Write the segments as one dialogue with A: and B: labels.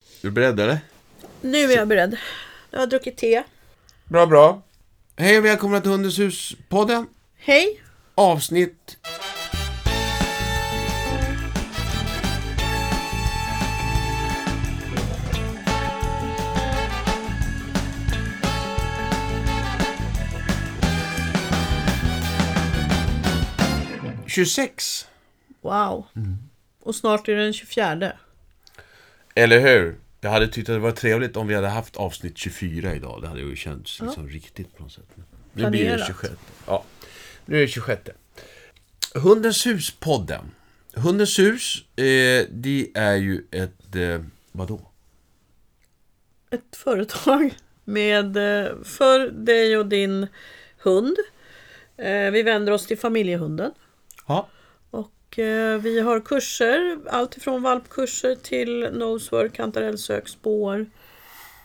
A: Är du beredd eller?
B: Nu är jag beredd. Jag har druckit te.
A: Bra, bra. Hej och välkomna till Hundens hus-podden.
B: Hej!
A: Avsnitt... ...26.
B: Wow. Och snart är det den 24.
A: Eller hur? Jag hade tyckt att det var trevligt om vi hade haft avsnitt 24 idag. Det hade ju känts liksom riktigt på något sätt. Men Nu blir det
B: Planerat.
A: 26. Ja, nu är det 26. Hundens hus-podden. Hundens hus, eh, det är ju ett... Eh, vadå?
B: Ett företag med, eh, för dig och din hund. Eh, Vi vänder oss till familjehunden.
A: Ja.
B: Och eh, vi har kurser, allt ifrån valpkurser till nosework, kantarellsök, spår,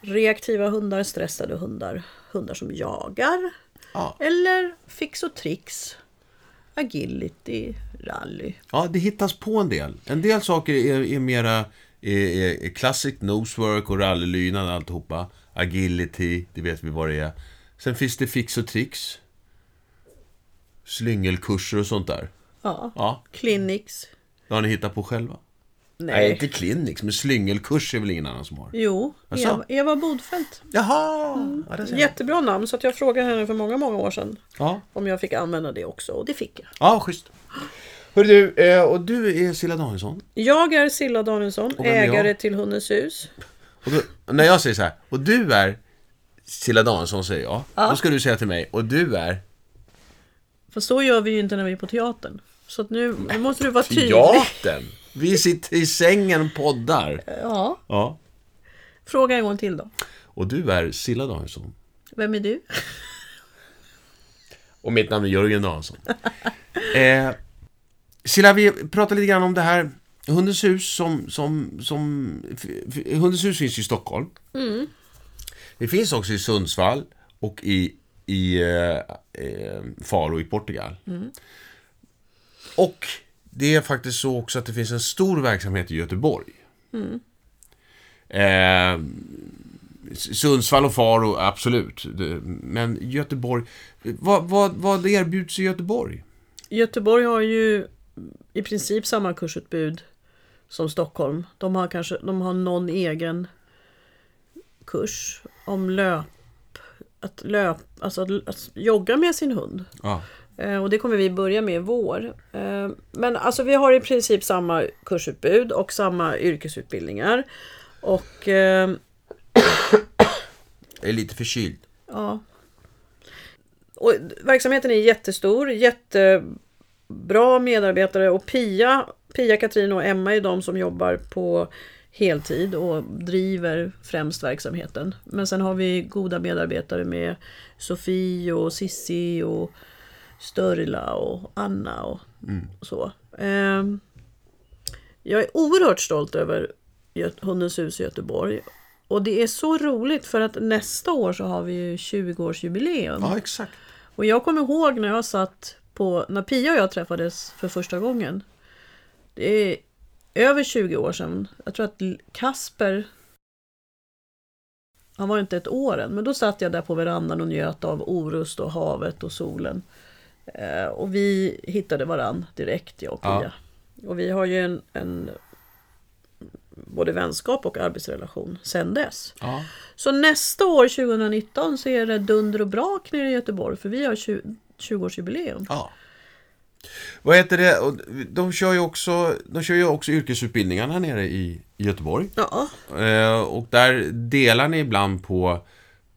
B: reaktiva hundar, stressade hundar, hundar som jagar,
A: Ja.
B: eller fix och tricks, agility, rally.
A: ja, det hittas på en del. En del saker är, är mera är, är, är classic nosework och rallylydnad och alltihopa. Agility, det vet vi vad det är. Sen finns det fix och tricks. Slyngelkurser och sånt där.
B: Ja.
A: Ja,
B: Clinics.
A: det har ni hittat på själva.
B: Nej.
A: Nej, inte clinics, men slyngelkurs är väl ingen annan som har.
B: Jo,
A: Jaså?
B: Eva, Eva Bodfeldt.
A: Jaha! Ja, där ser man.
B: Jättebra namn, så att jag frågade henne för många, många år sedan
A: ja.
B: om jag fick använda det också och det fick jag.
A: ja schysst. Hörru du, eh, och du är Silla Danielsson.
B: Jag är Silla Danielsson,
A: vem är
B: ägare
A: jag?
B: till Hundens hus.
A: Och då, när jag säger så här, och du är Silla Danielsson säger jag. Då ska du säga till mig, och du är...
B: Fast så gör vi ju inte när vi är på teatern. Så att nu, nu måste du vara tydlig.
A: Teatern! Vi sitter i sängen och poddar.
B: Ja.
A: Ja.
B: Fråga en gång till då.
A: Och du är Silla Danielsson.
B: Vem är du?
A: Och mitt namn är Jörgen Danielsson. Eh, Silla, vi pratade lite grann om det här. Hundens hus som... som, som f- f- Hundens hus finns ju i Stockholm. Det finns också i Sundsvall och i, i eh, eh, Faro i Portugal. Och det är faktiskt så också att det finns en stor verksamhet i Göteborg. Eh, Sundsvall och Faro, absolut. Det- Men Göteborg, vad, vad, vad erbjuds i Göteborg?
B: Göteborg har ju i princip samma kursutbud som Stockholm. De har kanske de har någon egen kurs om löp, att, löp, alltså att, att jogga med sin hund.
A: Ja.
B: Eh, Och det kommer vi börja med i vår. Eh, Men alltså vi har i princip samma kursutbud och samma yrkesutbildningar. Och eh,
A: Jag är lite förkyld.
B: Ja. Och verksamheten är jättestor, jättebra medarbetare och Pia, Pia, Katrin och Emma är de som jobbar på heltid och driver främst verksamheten. Men sen har vi goda medarbetare med Sofie och Sissi och Störla och Anna och så. Ehm, Jag är oerhört stolt över Gö- Hundens hus i Göteborg. Och det är så roligt för att nästa år så har vi ju 20-årsjubileum.
A: Ja, exakt.
B: Och jag kommer ihåg när jag satt på, när Pia och jag träffades för första gången. Det är över 20 år sedan. Jag tror att L- Kasper, han var inte ett år än, men då satt jag där på verandan och njöt av orust och havet och solen. Eh, och vi hittade varann direkt, jag och
A: Ja.
B: Pia. Och vi har ju en, en både vänskap och arbetsrelation sedan dess.
A: Ja.
B: Så nästa år, 2019, så är det dunder och brak nere i Göteborg för vi har 20 20-årsjubileum.
A: ja. Vad heter det? Och De kör ju också, de kör ju också yrkesutbildningarna nere i i Göteborg.
B: Ja,
A: Eh, Och där delar ni ibland på,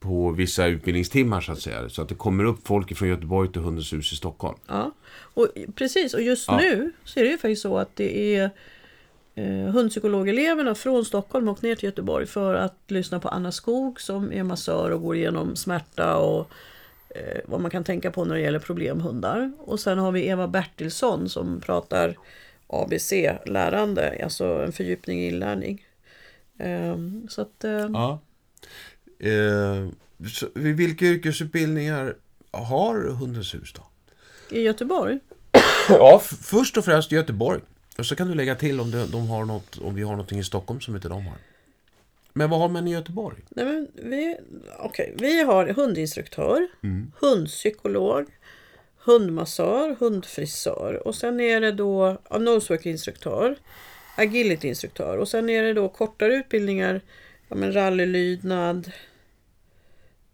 A: på vissa utbildningstimmar så att säga. Så att det kommer upp folk från Göteborg till Hundens hus i Stockholm.
B: ja. Och, precis. Och just nu så är det ju faktiskt så att det är eh, hundpsykologeleverna från Stockholm åkt ner till Göteborg för att lyssna på Anna Skog som är massör och går igenom smärta och eh, vad man kan tänka på när det gäller problemhundar. Och sen har vi Eva Bertilsson som pratar ABC-lärande, alltså en fördjupning i inlärning. Ehm, så att, eh,
A: Ja. Eh, så, vilka yrkesutbildningar har Hundens hus då?
B: I Göteborg?
A: Ja, f- först och främst Göteborg. Och så kan du lägga till om, de, de har något, om vi har någonting i Stockholm som inte de har. Men vad har man i Göteborg?
B: Nej, men vi, okej, vi har hundinstruktör, hundpsykolog, hundmassör, hundfrisör och sen är det då ja, nosework-instruktör, agility-instruktör och sen är det då kortare utbildningar, ja, men rallylydnad,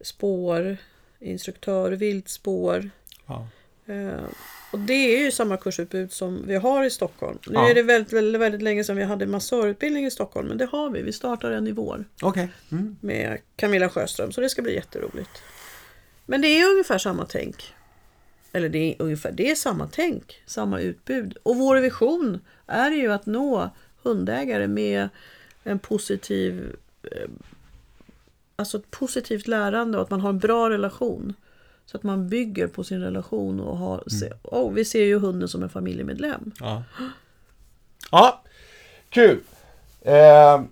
B: spår, instruktör, viltspår.
A: Ja.
B: Eh, och det är ju samma kursutbud som vi har i Stockholm. Nu
A: Ja.
B: är det väldigt, väldigt, väldigt länge sedan vi hade massörutbildning i Stockholm, men det har vi. Vi startar den i vår
A: Okej. Mm.
B: med Camilla Sjöström, så det ska bli jätteroligt. Men det är ungefär samma tänk. Eller det är ungefär, det är samma tänk, samma utbud. Och vår vision är ju att nå hundägare med en positiv, eh, alltså ett positivt lärande och att man har en bra relation. Så att man bygger på sin relation och har, se, oh, vi ser ju hunden som en familjemedlem.
A: Ja. ja. Kul. Eh,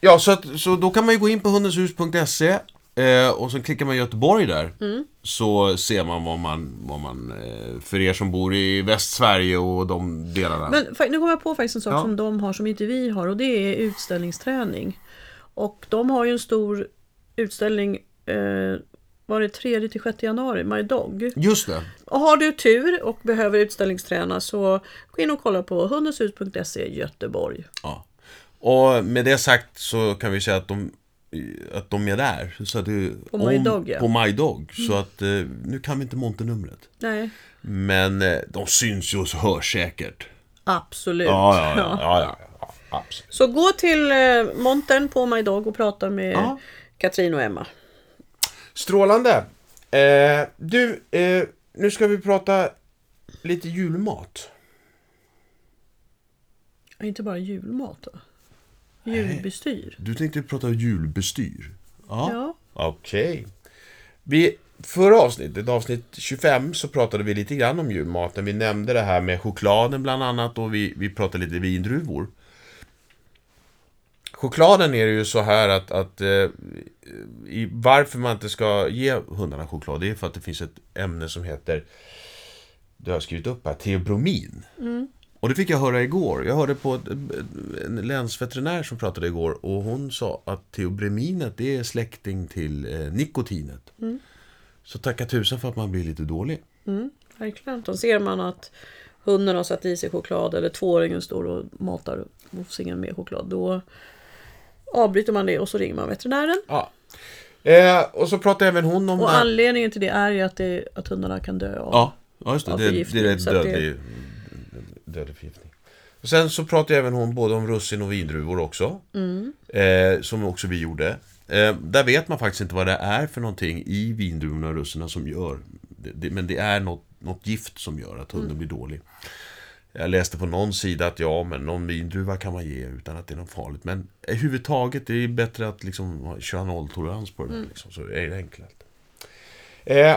A: ja, så, att, så då kan man ju gå in på hundenshus.se eh, och så klickar man Göteborg där.
B: Mm.
A: Så ser man vad man, vad man eh, för er som bor i Västsverige och de delarna.
B: Men fa- nu kom jag på faktiskt en sak
A: Ja.
B: som de har som inte vi har och det är utställningsträning. Och de har ju en stor utställning eh, var det 3 till 6 januari, My Dog.
A: Just det.
B: Och har du tur och behöver utställningsträna så gå in och kolla på hundenshus.se Göteborg.
A: Ja. Och med det sagt så kan vi säga att de, att de är där. Så att det,
B: På My Dog, ja. Mm.
A: På My Dog. Så att eh, nu kan vi inte montenumret.
B: Nej,
A: Men eh, de syns ju och hörs säkert.
B: absolut.
A: Ja, ja, ja. ja, ja, ja, absolut.
B: Så gå till eh, montern på My Dog och prata med
A: Ja.
B: Katrin och Emma.
A: Strålande. Eh, du, eh, nu ska vi prata lite julmat.
B: Inte bara julmat då. Julbestyr.
A: Du tänkte prata julbestyr.
B: Ja.
A: Okej. Vi, förra avsnittet, avsnitt 25, så pratade vi lite grann om julmaten. Vi nämnde det här med chokladen bland annat och vi, vi pratade lite vindruvor. Chokladen är det ju så här att, att eh, i, varför man inte ska ge hundarna choklad, det är för att det finns ett ämne som heter, det har jag skrivit upp här, teobromin. Och det fick jag höra igår. Jag hörde på ett, en länsveterinär som pratade igår och hon sa att teobreminet det är släkting till eh, nikotinet. Så tacka tusen för att man blir lite dålig.
B: Mm, verkligen. Då ser man att hunden har satt i sig choklad eller tvååringen står och matar mosingen med choklad. Då avbryter man det och så ringer man veterinären.
A: Ja. Eh, och så pratade även hon om...
B: Och
A: när-
B: anledningen till det är ju att, det, att hundarna kan dö av.
A: Ja, ja just det.
B: av
A: Det, det
B: förgiftning,
A: är
B: så att
A: dödlig, dödlig förgiftning. Och sen så pratade även hon både om russin och vindruvor också.
B: Mm.
A: Eh, som också vi gjorde. Eh, där vet man faktiskt inte vad det är för någonting i vindruvorna och russinen som gör. Det, det, men det är något, något gift som gör att
B: Mm.
A: hunden blir dålig. Jag läste på någon sida att ja, men någon vindruva kan man ge utan att det är något farligt. Men överhuvudtaget det är bättre att liksom ha- köra nolltolerans på det där.
B: Mm.
A: Liksom, så är det enklare. Eh,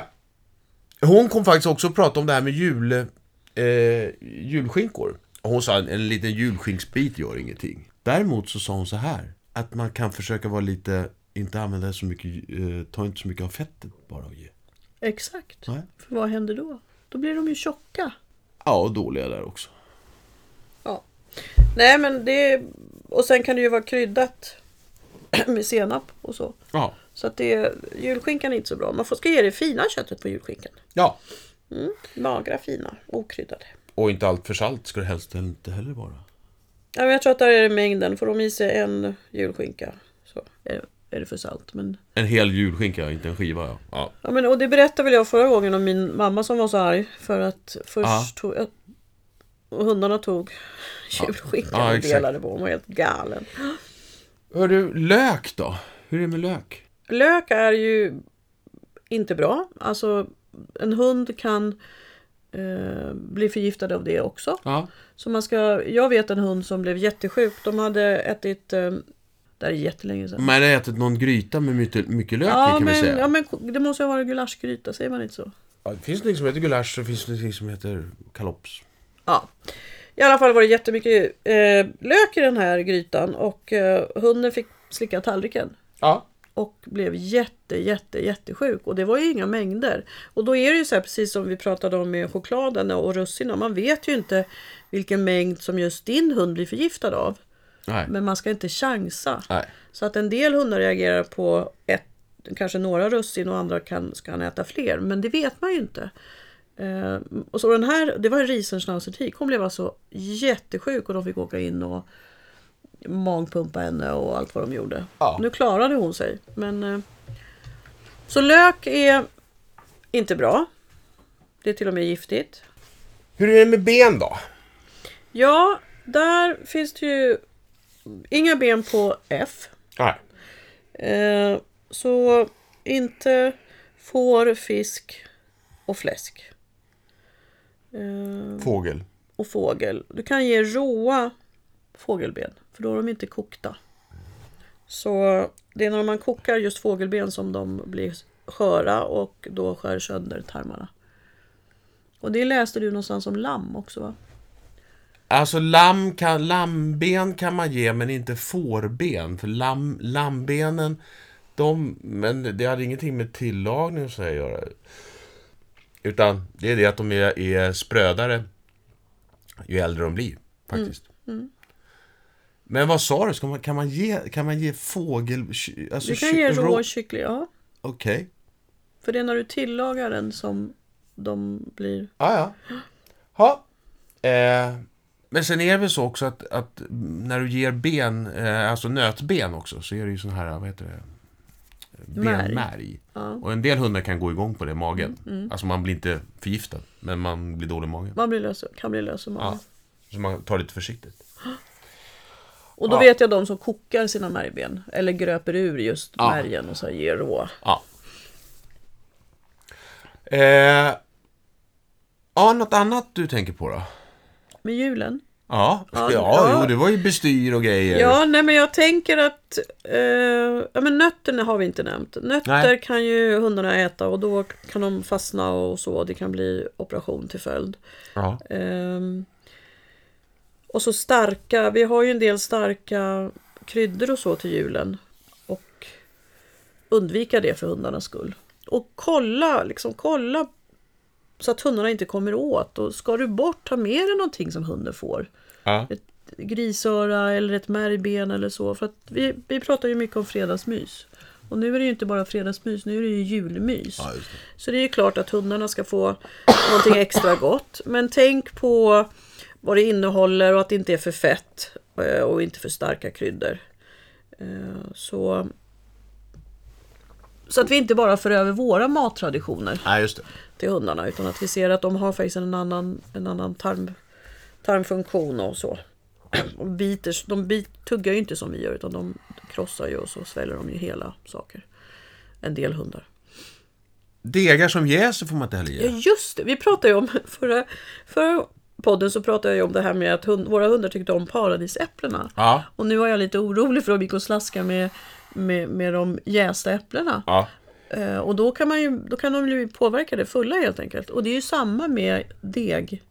A: hon kom faktiskt också och pratade om det här med jul, eh, julskinkor. Och Hon sa en liten julskinksbit gör ingenting. Däremot så sa hon så här. Att man kan försöka vara lite, inte använda så mycket, eh, ta inte så mycket av fettet bara och ge.
B: Exakt.
A: Nej.
B: För vad händer då? Då blir de ju tjocka.
A: Ja, och dåliga där också.
B: Ja. Nej men det... Och sen kan det ju vara kryddat med senap och så.
A: Ja.
B: Så att det, julskinkan är inte så bra. Man får, ska ge det fina köttet på julskinkan.
A: Ja.
B: Mm. Magra, fina, okryddade.
A: Och inte allt för salt ska det helst inte heller vara.
B: Ja, men jag tror att där är det mängden. Får de i sig en julskinka så är det, är det för salt. Men...
A: En hel julskinka, inte en skiva. Ja. ja.
B: Ja, men, och det berättade väl jag förra gången om min mamma som var så arg för att först
A: Ja.
B: tog... Jag, och hundarna tog julskinkan
A: Ja,
B: och
A: exakt.
B: delade på. Hon var helt galen.
A: Hör du, lök då? Hur är det med lök?
B: Lök är ju inte bra. Alltså en hund kan eh, bli förgiftad av det också.
A: Ja.
B: Så man ska, jag vet en hund som blev jättesjuk. De hade ätit, eh, det här är jättelänge sedan.
A: Man har ätit någon gryta med mycket, mycket lök i
B: Ja
A: kan vi
B: men,
A: säga.
B: ja men det måste ju ha varit gulaschgryta, säger man inte så?
A: Ja, det finns någonting som heter gulasch och det finns någonting som heter kalops.
B: Ja. I alla fall var det jättemycket eh, lök i den här grytan och eh, hunden fick slicka tallriken.
A: Ja.
B: Och blev jätte, jätte, jättesjuk. Och det var ju inga mängder. Och då är det ju så här precis som vi pratade om med chokladen och russinen. Man vet ju inte vilken mängd som just din hund blir förgiftad av.
A: Nej.
B: Men man ska inte chansa.
A: Nej.
B: Så att en del hundar reagerar på ett, kanske några russin och andra kan, ska han äta fler. Men det vet man ju inte. Eh, och så den här, det var en riesenschnauzertik. Hon blev alltså jättesjuk och de fick åka in och magpumpa henne och allt vad de gjorde.
A: Ja.
B: Nu klarade hon sig. Men, eh, så lök är inte bra. Det är till och med giftigt.
A: Hur är det med ben då?
B: Ja, där finns det ju inga ben på F.
A: Nej.
B: Eh, så inte får, fisk och fläsk.
A: Mm.
B: Eh,
A: Fågel.
B: och fågel. Du kan ge råa fågelben, för då är de inte kokta. Så det är när man kokar just fågelben som de blir sköra och då skär sönder tarmarna. Och det läste du någonstans om lamm också va?
A: Alltså lamm kan, lammben kan man ge men inte fårben. För lamm, lammbenen, de, men det har ingenting med tillagning och så här att göra. Utan det är det att de är, är sprödare ju äldre de blir faktiskt. Men vad sa du, Ska man, kan, man ge, kan man ge fågel... Alltså,
B: Du kan
A: kyck-
B: ge rå
A: rå-
B: kyckling, ja.
A: Okej.
B: För det är när du tillagar den som de blir...
A: Ja, ja. Ha. Eh, men sen är det väl så också att, att när du ger ben, eh, alltså nötben också, så är det ju sån här, vad heter det?
B: Märg.
A: Benmärg.
B: Ja. Mm,
A: Och en del hundar kan gå igång på det i magen. Alltså man blir inte förgiftad, men man blir dålig i magen.
B: Man blir lös, kan bli lös i magen.
A: Ja. Så man tar lite försiktigt.
B: Och då
A: Ja.
B: vet jag de som kokar sina märgben. Eller gröper ur just
A: Ja.
B: märgen och så ger rå.
A: Ja. Eh, ja, något annat du tänker på då?
B: Med julen.
A: Ja, ja,
B: Ja,
A: ja.
B: ja.
A: Jo, det var ju bestyr och grejer.
B: Ja, nej men jag tänker att... Eh, ja men nötterna har vi inte nämnt. Nötter
A: Nej.
B: kan ju hundarna äta och då kan de fastna och så. Det kan bli operation till följd.
A: Ja.
B: Ehm, och så starka, vi har ju en del starka kryddor och så till julen. Och undvika det för hundarnas skull. Och kolla, liksom kolla så att hundarna inte kommer åt. Och ska du bort, ta med dig någonting som hunden får.
A: Ja.
B: Ett grisöra eller ett märgben eller så. För att vi, vi pratar ju mycket om fredagsmys. Och nu är det ju inte bara fredagsmys, nu är det ju julmys.
A: Ja, just det.
B: Så det är ju klart att hundarna ska få någonting extra gott. Men tänk på vad det innehåller och att det inte är för fett eh, och inte för starka kryddor. Eh, Så, så att vi inte bara för över våra mattraditioner
A: Nej, just det.
B: till hundarna utan att vi ser att de har faktiskt en annan, en annan tarm, tarmfunktion och så. Och biter, de bit, tuggar ju inte som vi gör utan de krossar ju och så sväljer de ju hela saker. En del hundar.
A: Degar som jäser får man inte heller ge.
B: Ja just det, vi pratade ju om förra, förra podden så pratade jag ju om det här med att hund, våra hundar tyckte om paradisäpplena.
A: Ja.
B: Och nu var jag lite orolig för de gick och slaskade med, med, med de jästa äpplena.
A: Ja.
B: Eh, och då kan, man ju, då kan de bli påverkade fulla helt enkelt. Och det är ju samma med deg,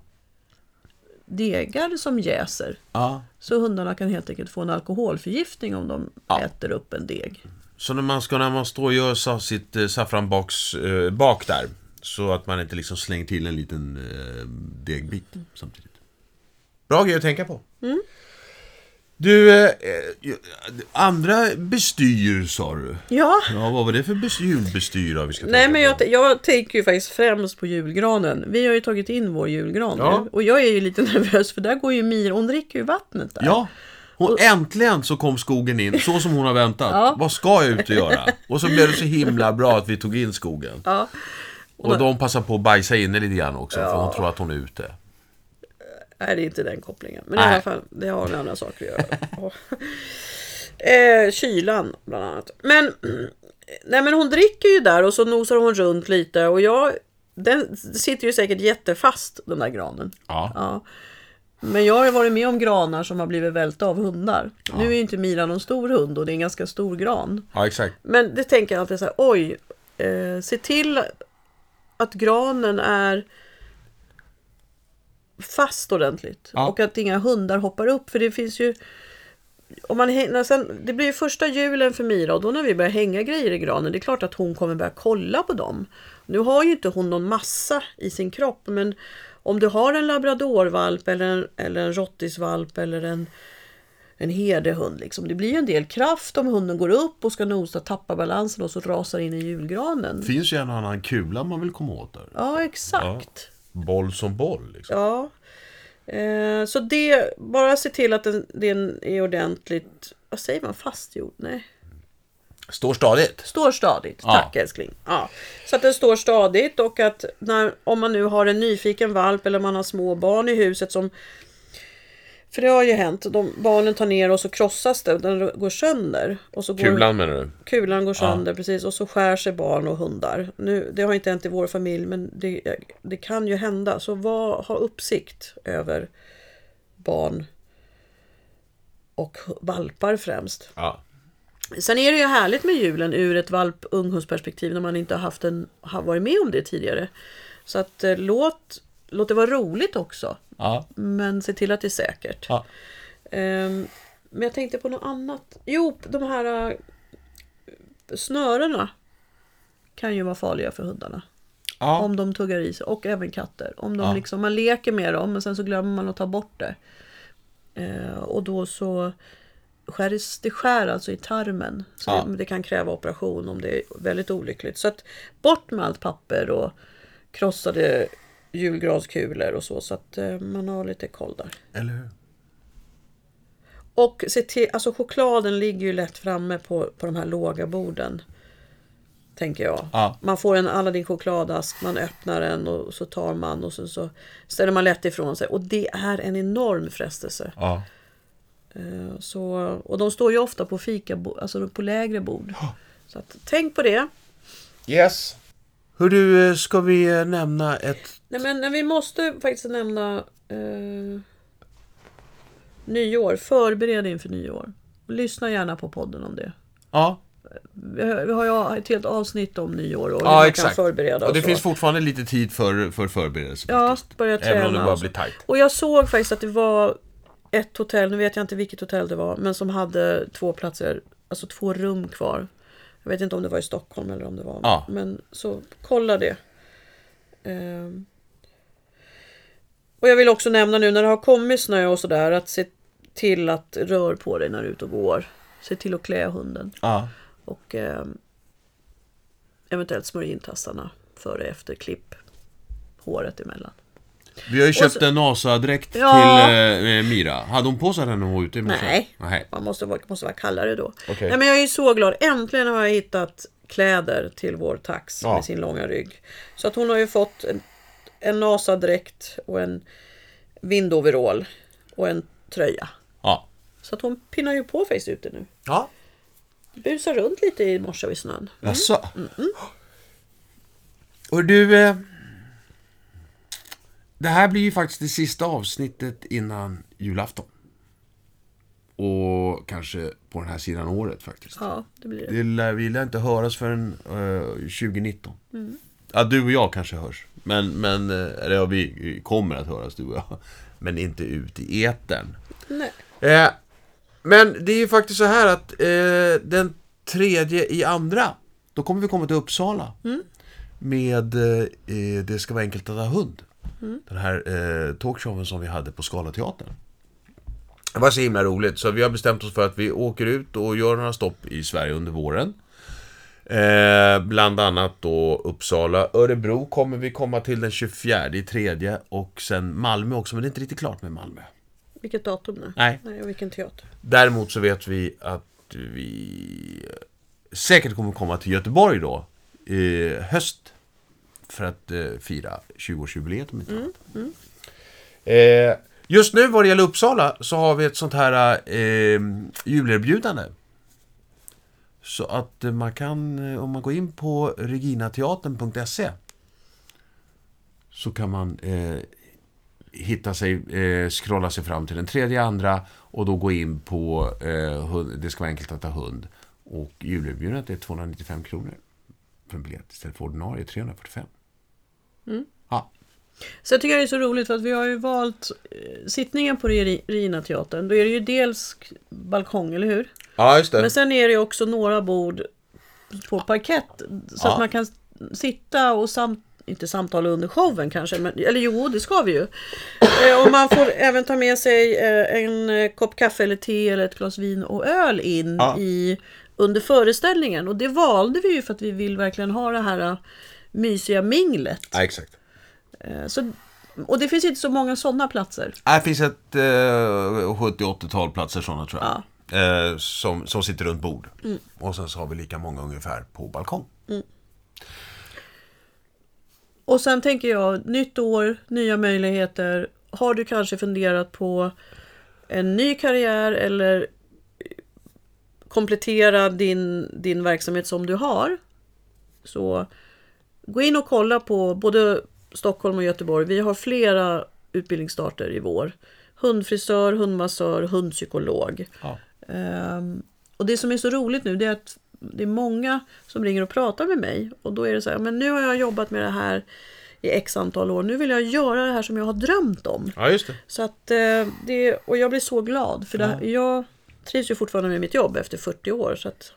B: degar som jäser.
A: ja.
B: Så hundarna kan helt enkelt få en alkoholförgiftning om de äter upp en deg.
A: Så när man, ska, när man står och gör sa, sitt eh, saffranbaks eh, bak där så att man inte liksom slänger till en liten eh, degbit samtidigt. Bra grej att tänka på. Du, eh, eh, andra bestyr sa du.
B: Ja,
A: Ja, vad var det för bes- julbestyr då vi ska
B: nej
A: tänka
B: men jag,
A: på?
B: jag tänker ju faktiskt främst på julgranen. Vi har ju tagit in vår julgran
A: Ja.
B: nu. Och jag är ju lite nervös för där går ju Mira, hon dricker ju vattnet där.
A: Ja, hon, äntligen så kom skogen in, så som hon har väntat.
B: Ja.
A: Vad ska jag ut och göra? Och så blev det så himla bra att vi tog in skogen.
B: Ja.
A: Och de passar på att bajsa inne lite grann också, för hon tror att hon är ute.
B: Nej, det är inte den kopplingen. Men i
A: Nej.
B: alla fall, det har med andra saker att göra. Ja. eh, kylan, bland annat. Men, nej, men hon dricker ju där och så nosar hon runt lite. Och jag, den sitter ju säkert jättefast, den där granen.
A: Ja.
B: Ja. Men jag har ju varit med om granar som har blivit välta av hundar. Nu är ju inte Mira någon stor hund och det är en ganska stor gran.
A: ja, exakt.
B: Men det tänker jag alltid så här, oj, eh, se till att granen är fast ordentligt
A: Ja.
B: och att inga hundar hoppar upp för det finns ju om man hinner, sen, det blir ju första julen för Mira och då när vi börjar hänga grejer i granen, det är klart att hon kommer börja kolla på dem. Nu har ju inte hon någon massa i sin kropp, men om du har en labradorvalp eller en, eller en rottisvalp eller en en herdehund. Liksom. Det blir ju en del kraft om hunden går upp och ska nosa, tappar balansen och så rasar in i julgranen.
A: finns ju en och annan kula man vill komma åt där.
B: Ja, exakt.
A: Boll som boll liksom.
B: Ja. Eh, så det, bara se till att den, den är ordentligt, vad säger man, fastgjord? Nej.
A: Står stadigt.
B: Står stadigt,
A: Ja.
B: tack älskling. Ja. Så att den står stadigt och att när, om man nu har en nyfiken valp eller man har små barn i huset som för det har ju hänt, de, barnen tar ner och så krossas det, den går sönder. Och så går,
A: Kulan menar du?
B: kulan går sönder, precis, och så skär sig barn och hundar. Nu, det har inte hänt i vår familj, men det, det kan ju hända. Så var, ha uppsikt över barn och hu- valpar främst.
A: Ja.
B: Sen är det ju härligt med julen ur ett valp-unghundsperspektiv när man inte har, haft en, har varit med om det tidigare. Så att eh, låt, låt det vara roligt också.
A: Ja.
B: Men se till att det är säkert.
A: Ja.
B: Ehm, men jag tänkte på något annat. Jo, de här eh, snörena kan ju vara farliga för hundarna.
A: ja.
B: Om de tuggar i sig och även katter. Om de
A: Ja.
B: liksom, man leker med dem men sen så glömmer man att ta bort det. Eh, och då så skärs det skär alltså i tarmen. Så
A: Ja.
B: det, det kan kräva operation om det är väldigt olyckligt. Så att bort med allt papper och krossade julgranskulor och så. Så att eh, man har lite koll där.
A: Eller hur?
B: Och se till, alltså chokladen ligger ju lätt framme på, på de här låga borden. Tänker jag.
A: Ja.
B: Man får en Aladdin-chokladask, man öppnar den och så tar man och sen så ställer man lätt ifrån sig. Och det är en enorm frestelse.
A: Ja.
B: Eh, Så, och de står ju ofta på fika, alltså på lägre bord. Så att, tänk på det.
A: Yes. Hur du, eh, ska vi eh, nämna ett...
B: Nej, men men vi måste faktiskt nämna eh, nyår. Förbered inför nyår. Lyssna gärna på podden om det.
A: Ja.
B: Vi har- vi har ju ett helt avsnitt om nyår och hur man
A: Ja,
B: kan
A: exakt.
B: förbereda
A: Och det
B: så.
A: finns fortfarande lite tid för, för förberedelse.
B: Ja,
A: faktiskt.
B: börja träna.
A: Även om det bara
B: och så.
A: blir tajt.
B: Och jag såg faktiskt att det var ett hotell, nu vet jag inte vilket hotell det var, men som hade två platser, alltså två rum kvar. Jag vet inte om det var i Stockholm eller om det var,
A: Ja.
B: men så kolla det. Ehm. Och jag vill också nämna nu när det har kommit snö och sådär att se till att rör på dig när du är ute och går. Se till att klä hunden.
A: Ja.
B: Och eh, eventuellt smörj in tassarna före och efter klipp. Håret emellan.
A: Vi har ju köpt
B: så-
A: en NASA-dräkt
B: Ja.
A: till eh, Mira. Hade hon på sig den när hon var ute i morse?
B: Nej.
A: Nej.
B: Man måste vara, måste vara kallare då.
A: Okej.
B: Nej, men jag är ju så glad. Äntligen har jag hittat kläder till vår tax
A: Ja.
B: med sin långa rygg. Så att hon har ju fått en, en NASA-dräkt och en vindoverall och en tröja.
A: Ja.
B: Så att hon pinnar ju på faktiskt ute nu.
A: Ja.
B: Busar runt lite i morse vid snön.
A: Jaså? Och du... eh, Det här blir ju faktiskt det sista avsnittet innan julafton. Och kanske på den här sidan året faktiskt.
B: Ja, det blir det.
A: Det lär, vi lär inte höras förrän eh, 2019.
B: Mm.
A: Ja, du och jag kanske hörs. Men, men, eh, eller ja, vi kommer att höras du och jag. Men inte ut i etern.
B: Nej.
A: Eh, men det är ju faktiskt så här att eh, den tredje i andra, då kommer vi komma till Uppsala. Med eh, eh, Det ska vara enkelt att ha hund. Den här eh, talkshowen som vi hade på Scalateatern. Det var så himla roligt så vi har bestämt oss för att vi åker ut och gör några stopp i Sverige under våren. Eh, bland annat då Uppsala, Örebro kommer vi komma till den 24 i tredje och sen Malmö också men det är inte riktigt klart med Malmö.
B: Vilket datum nu?
A: Nej.
B: Nej, och vilken teater?
A: Däremot så vet vi att vi säkert kommer komma till Göteborg då i höst för att eh, fira 20-årsjubileet om inte annat. Eh, just nu vad det gäller Uppsala så har vi ett sånt här eh, julerbjudande. Så att eh, man kan, eh, om man går in på reginateatern.se så kan man eh, hitta sig, eh, scrolla sig fram till den tredje andra och då gå in på eh, hund, Det ska vara enkelt att ha hund och julerbjudandet är 295 kronor för en biljett istället för ordinarie 345. Ja.
B: Sen tycker jag det är så roligt för att vi har ju valt eh, sittningen på Regina teatern. Då är det ju dels k- balkong, eller hur?
A: ja, just det.
B: Men sen är det ju också några bord på parkett. Så
A: Ja.
B: att man kan s- sitta och sam- inte samtala under showen kanske, men, eller jo det ska vi ju. Eh, och man får även ta med sig eh, en eh, kopp kaffe eller te eller ett glas vin och öl in
A: Ja.
B: i, under föreställningen. Och det valde vi ju för att vi vill verkligen ha det här eh, mysiga minglet.
A: Ja, exakt.
B: Eh, Så, och det finns inte så många sådana platser.
A: Här finns ett eh, 70-80-tal platser sådana tror jag. Eh, som, som sitter runt bord. Och sen så har vi lika många ungefär på balkong.
B: Och sen tänker jag, nytt år, nya möjligheter. Har du kanske funderat på en ny karriär eller komplettera din, din verksamhet som du har? Så gå in och kolla på både Stockholm och Göteborg. Vi har flera utbildningsstarter i vår. Hundfrisör, hundmassör, hundpsykolog.
A: Ja.
B: Ehm, och det som är så roligt nu det är att det är många som ringer och pratar med mig och då är det så här, men nu har jag jobbat med det här i x antal år, nu vill jag göra det här som jag har drömt om.
A: ja, just det.
B: Så att, eh, det, och jag blir så glad för det, jag trivs ju fortfarande med mitt jobb efter 40 år. Så att,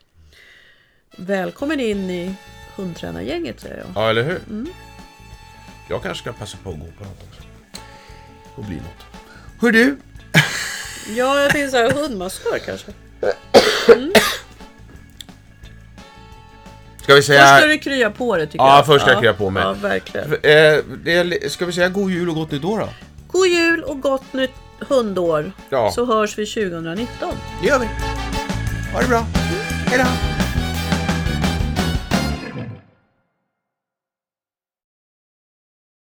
B: välkommen in i hundtränargänget säger jag.
A: Ja, eller hur? Jag kanske ska passa på att gå på något också. Och bli något. Hör du?
B: Ja, jag tänkte så här, hundmassör kanske.
A: Ska vi säga...
B: Först ska du krya på det tycker
A: Ja,
B: jag.
A: först ska jag krya på mig.
B: Ja, verkligen.
A: Eh, det är- Ska vi säga god jul och gott nytt år då?
B: God jul och gott nytt hundår.
A: Ja.
B: Så hörs vi 2019.
A: Det gör vi. Ha det bra. Hej då.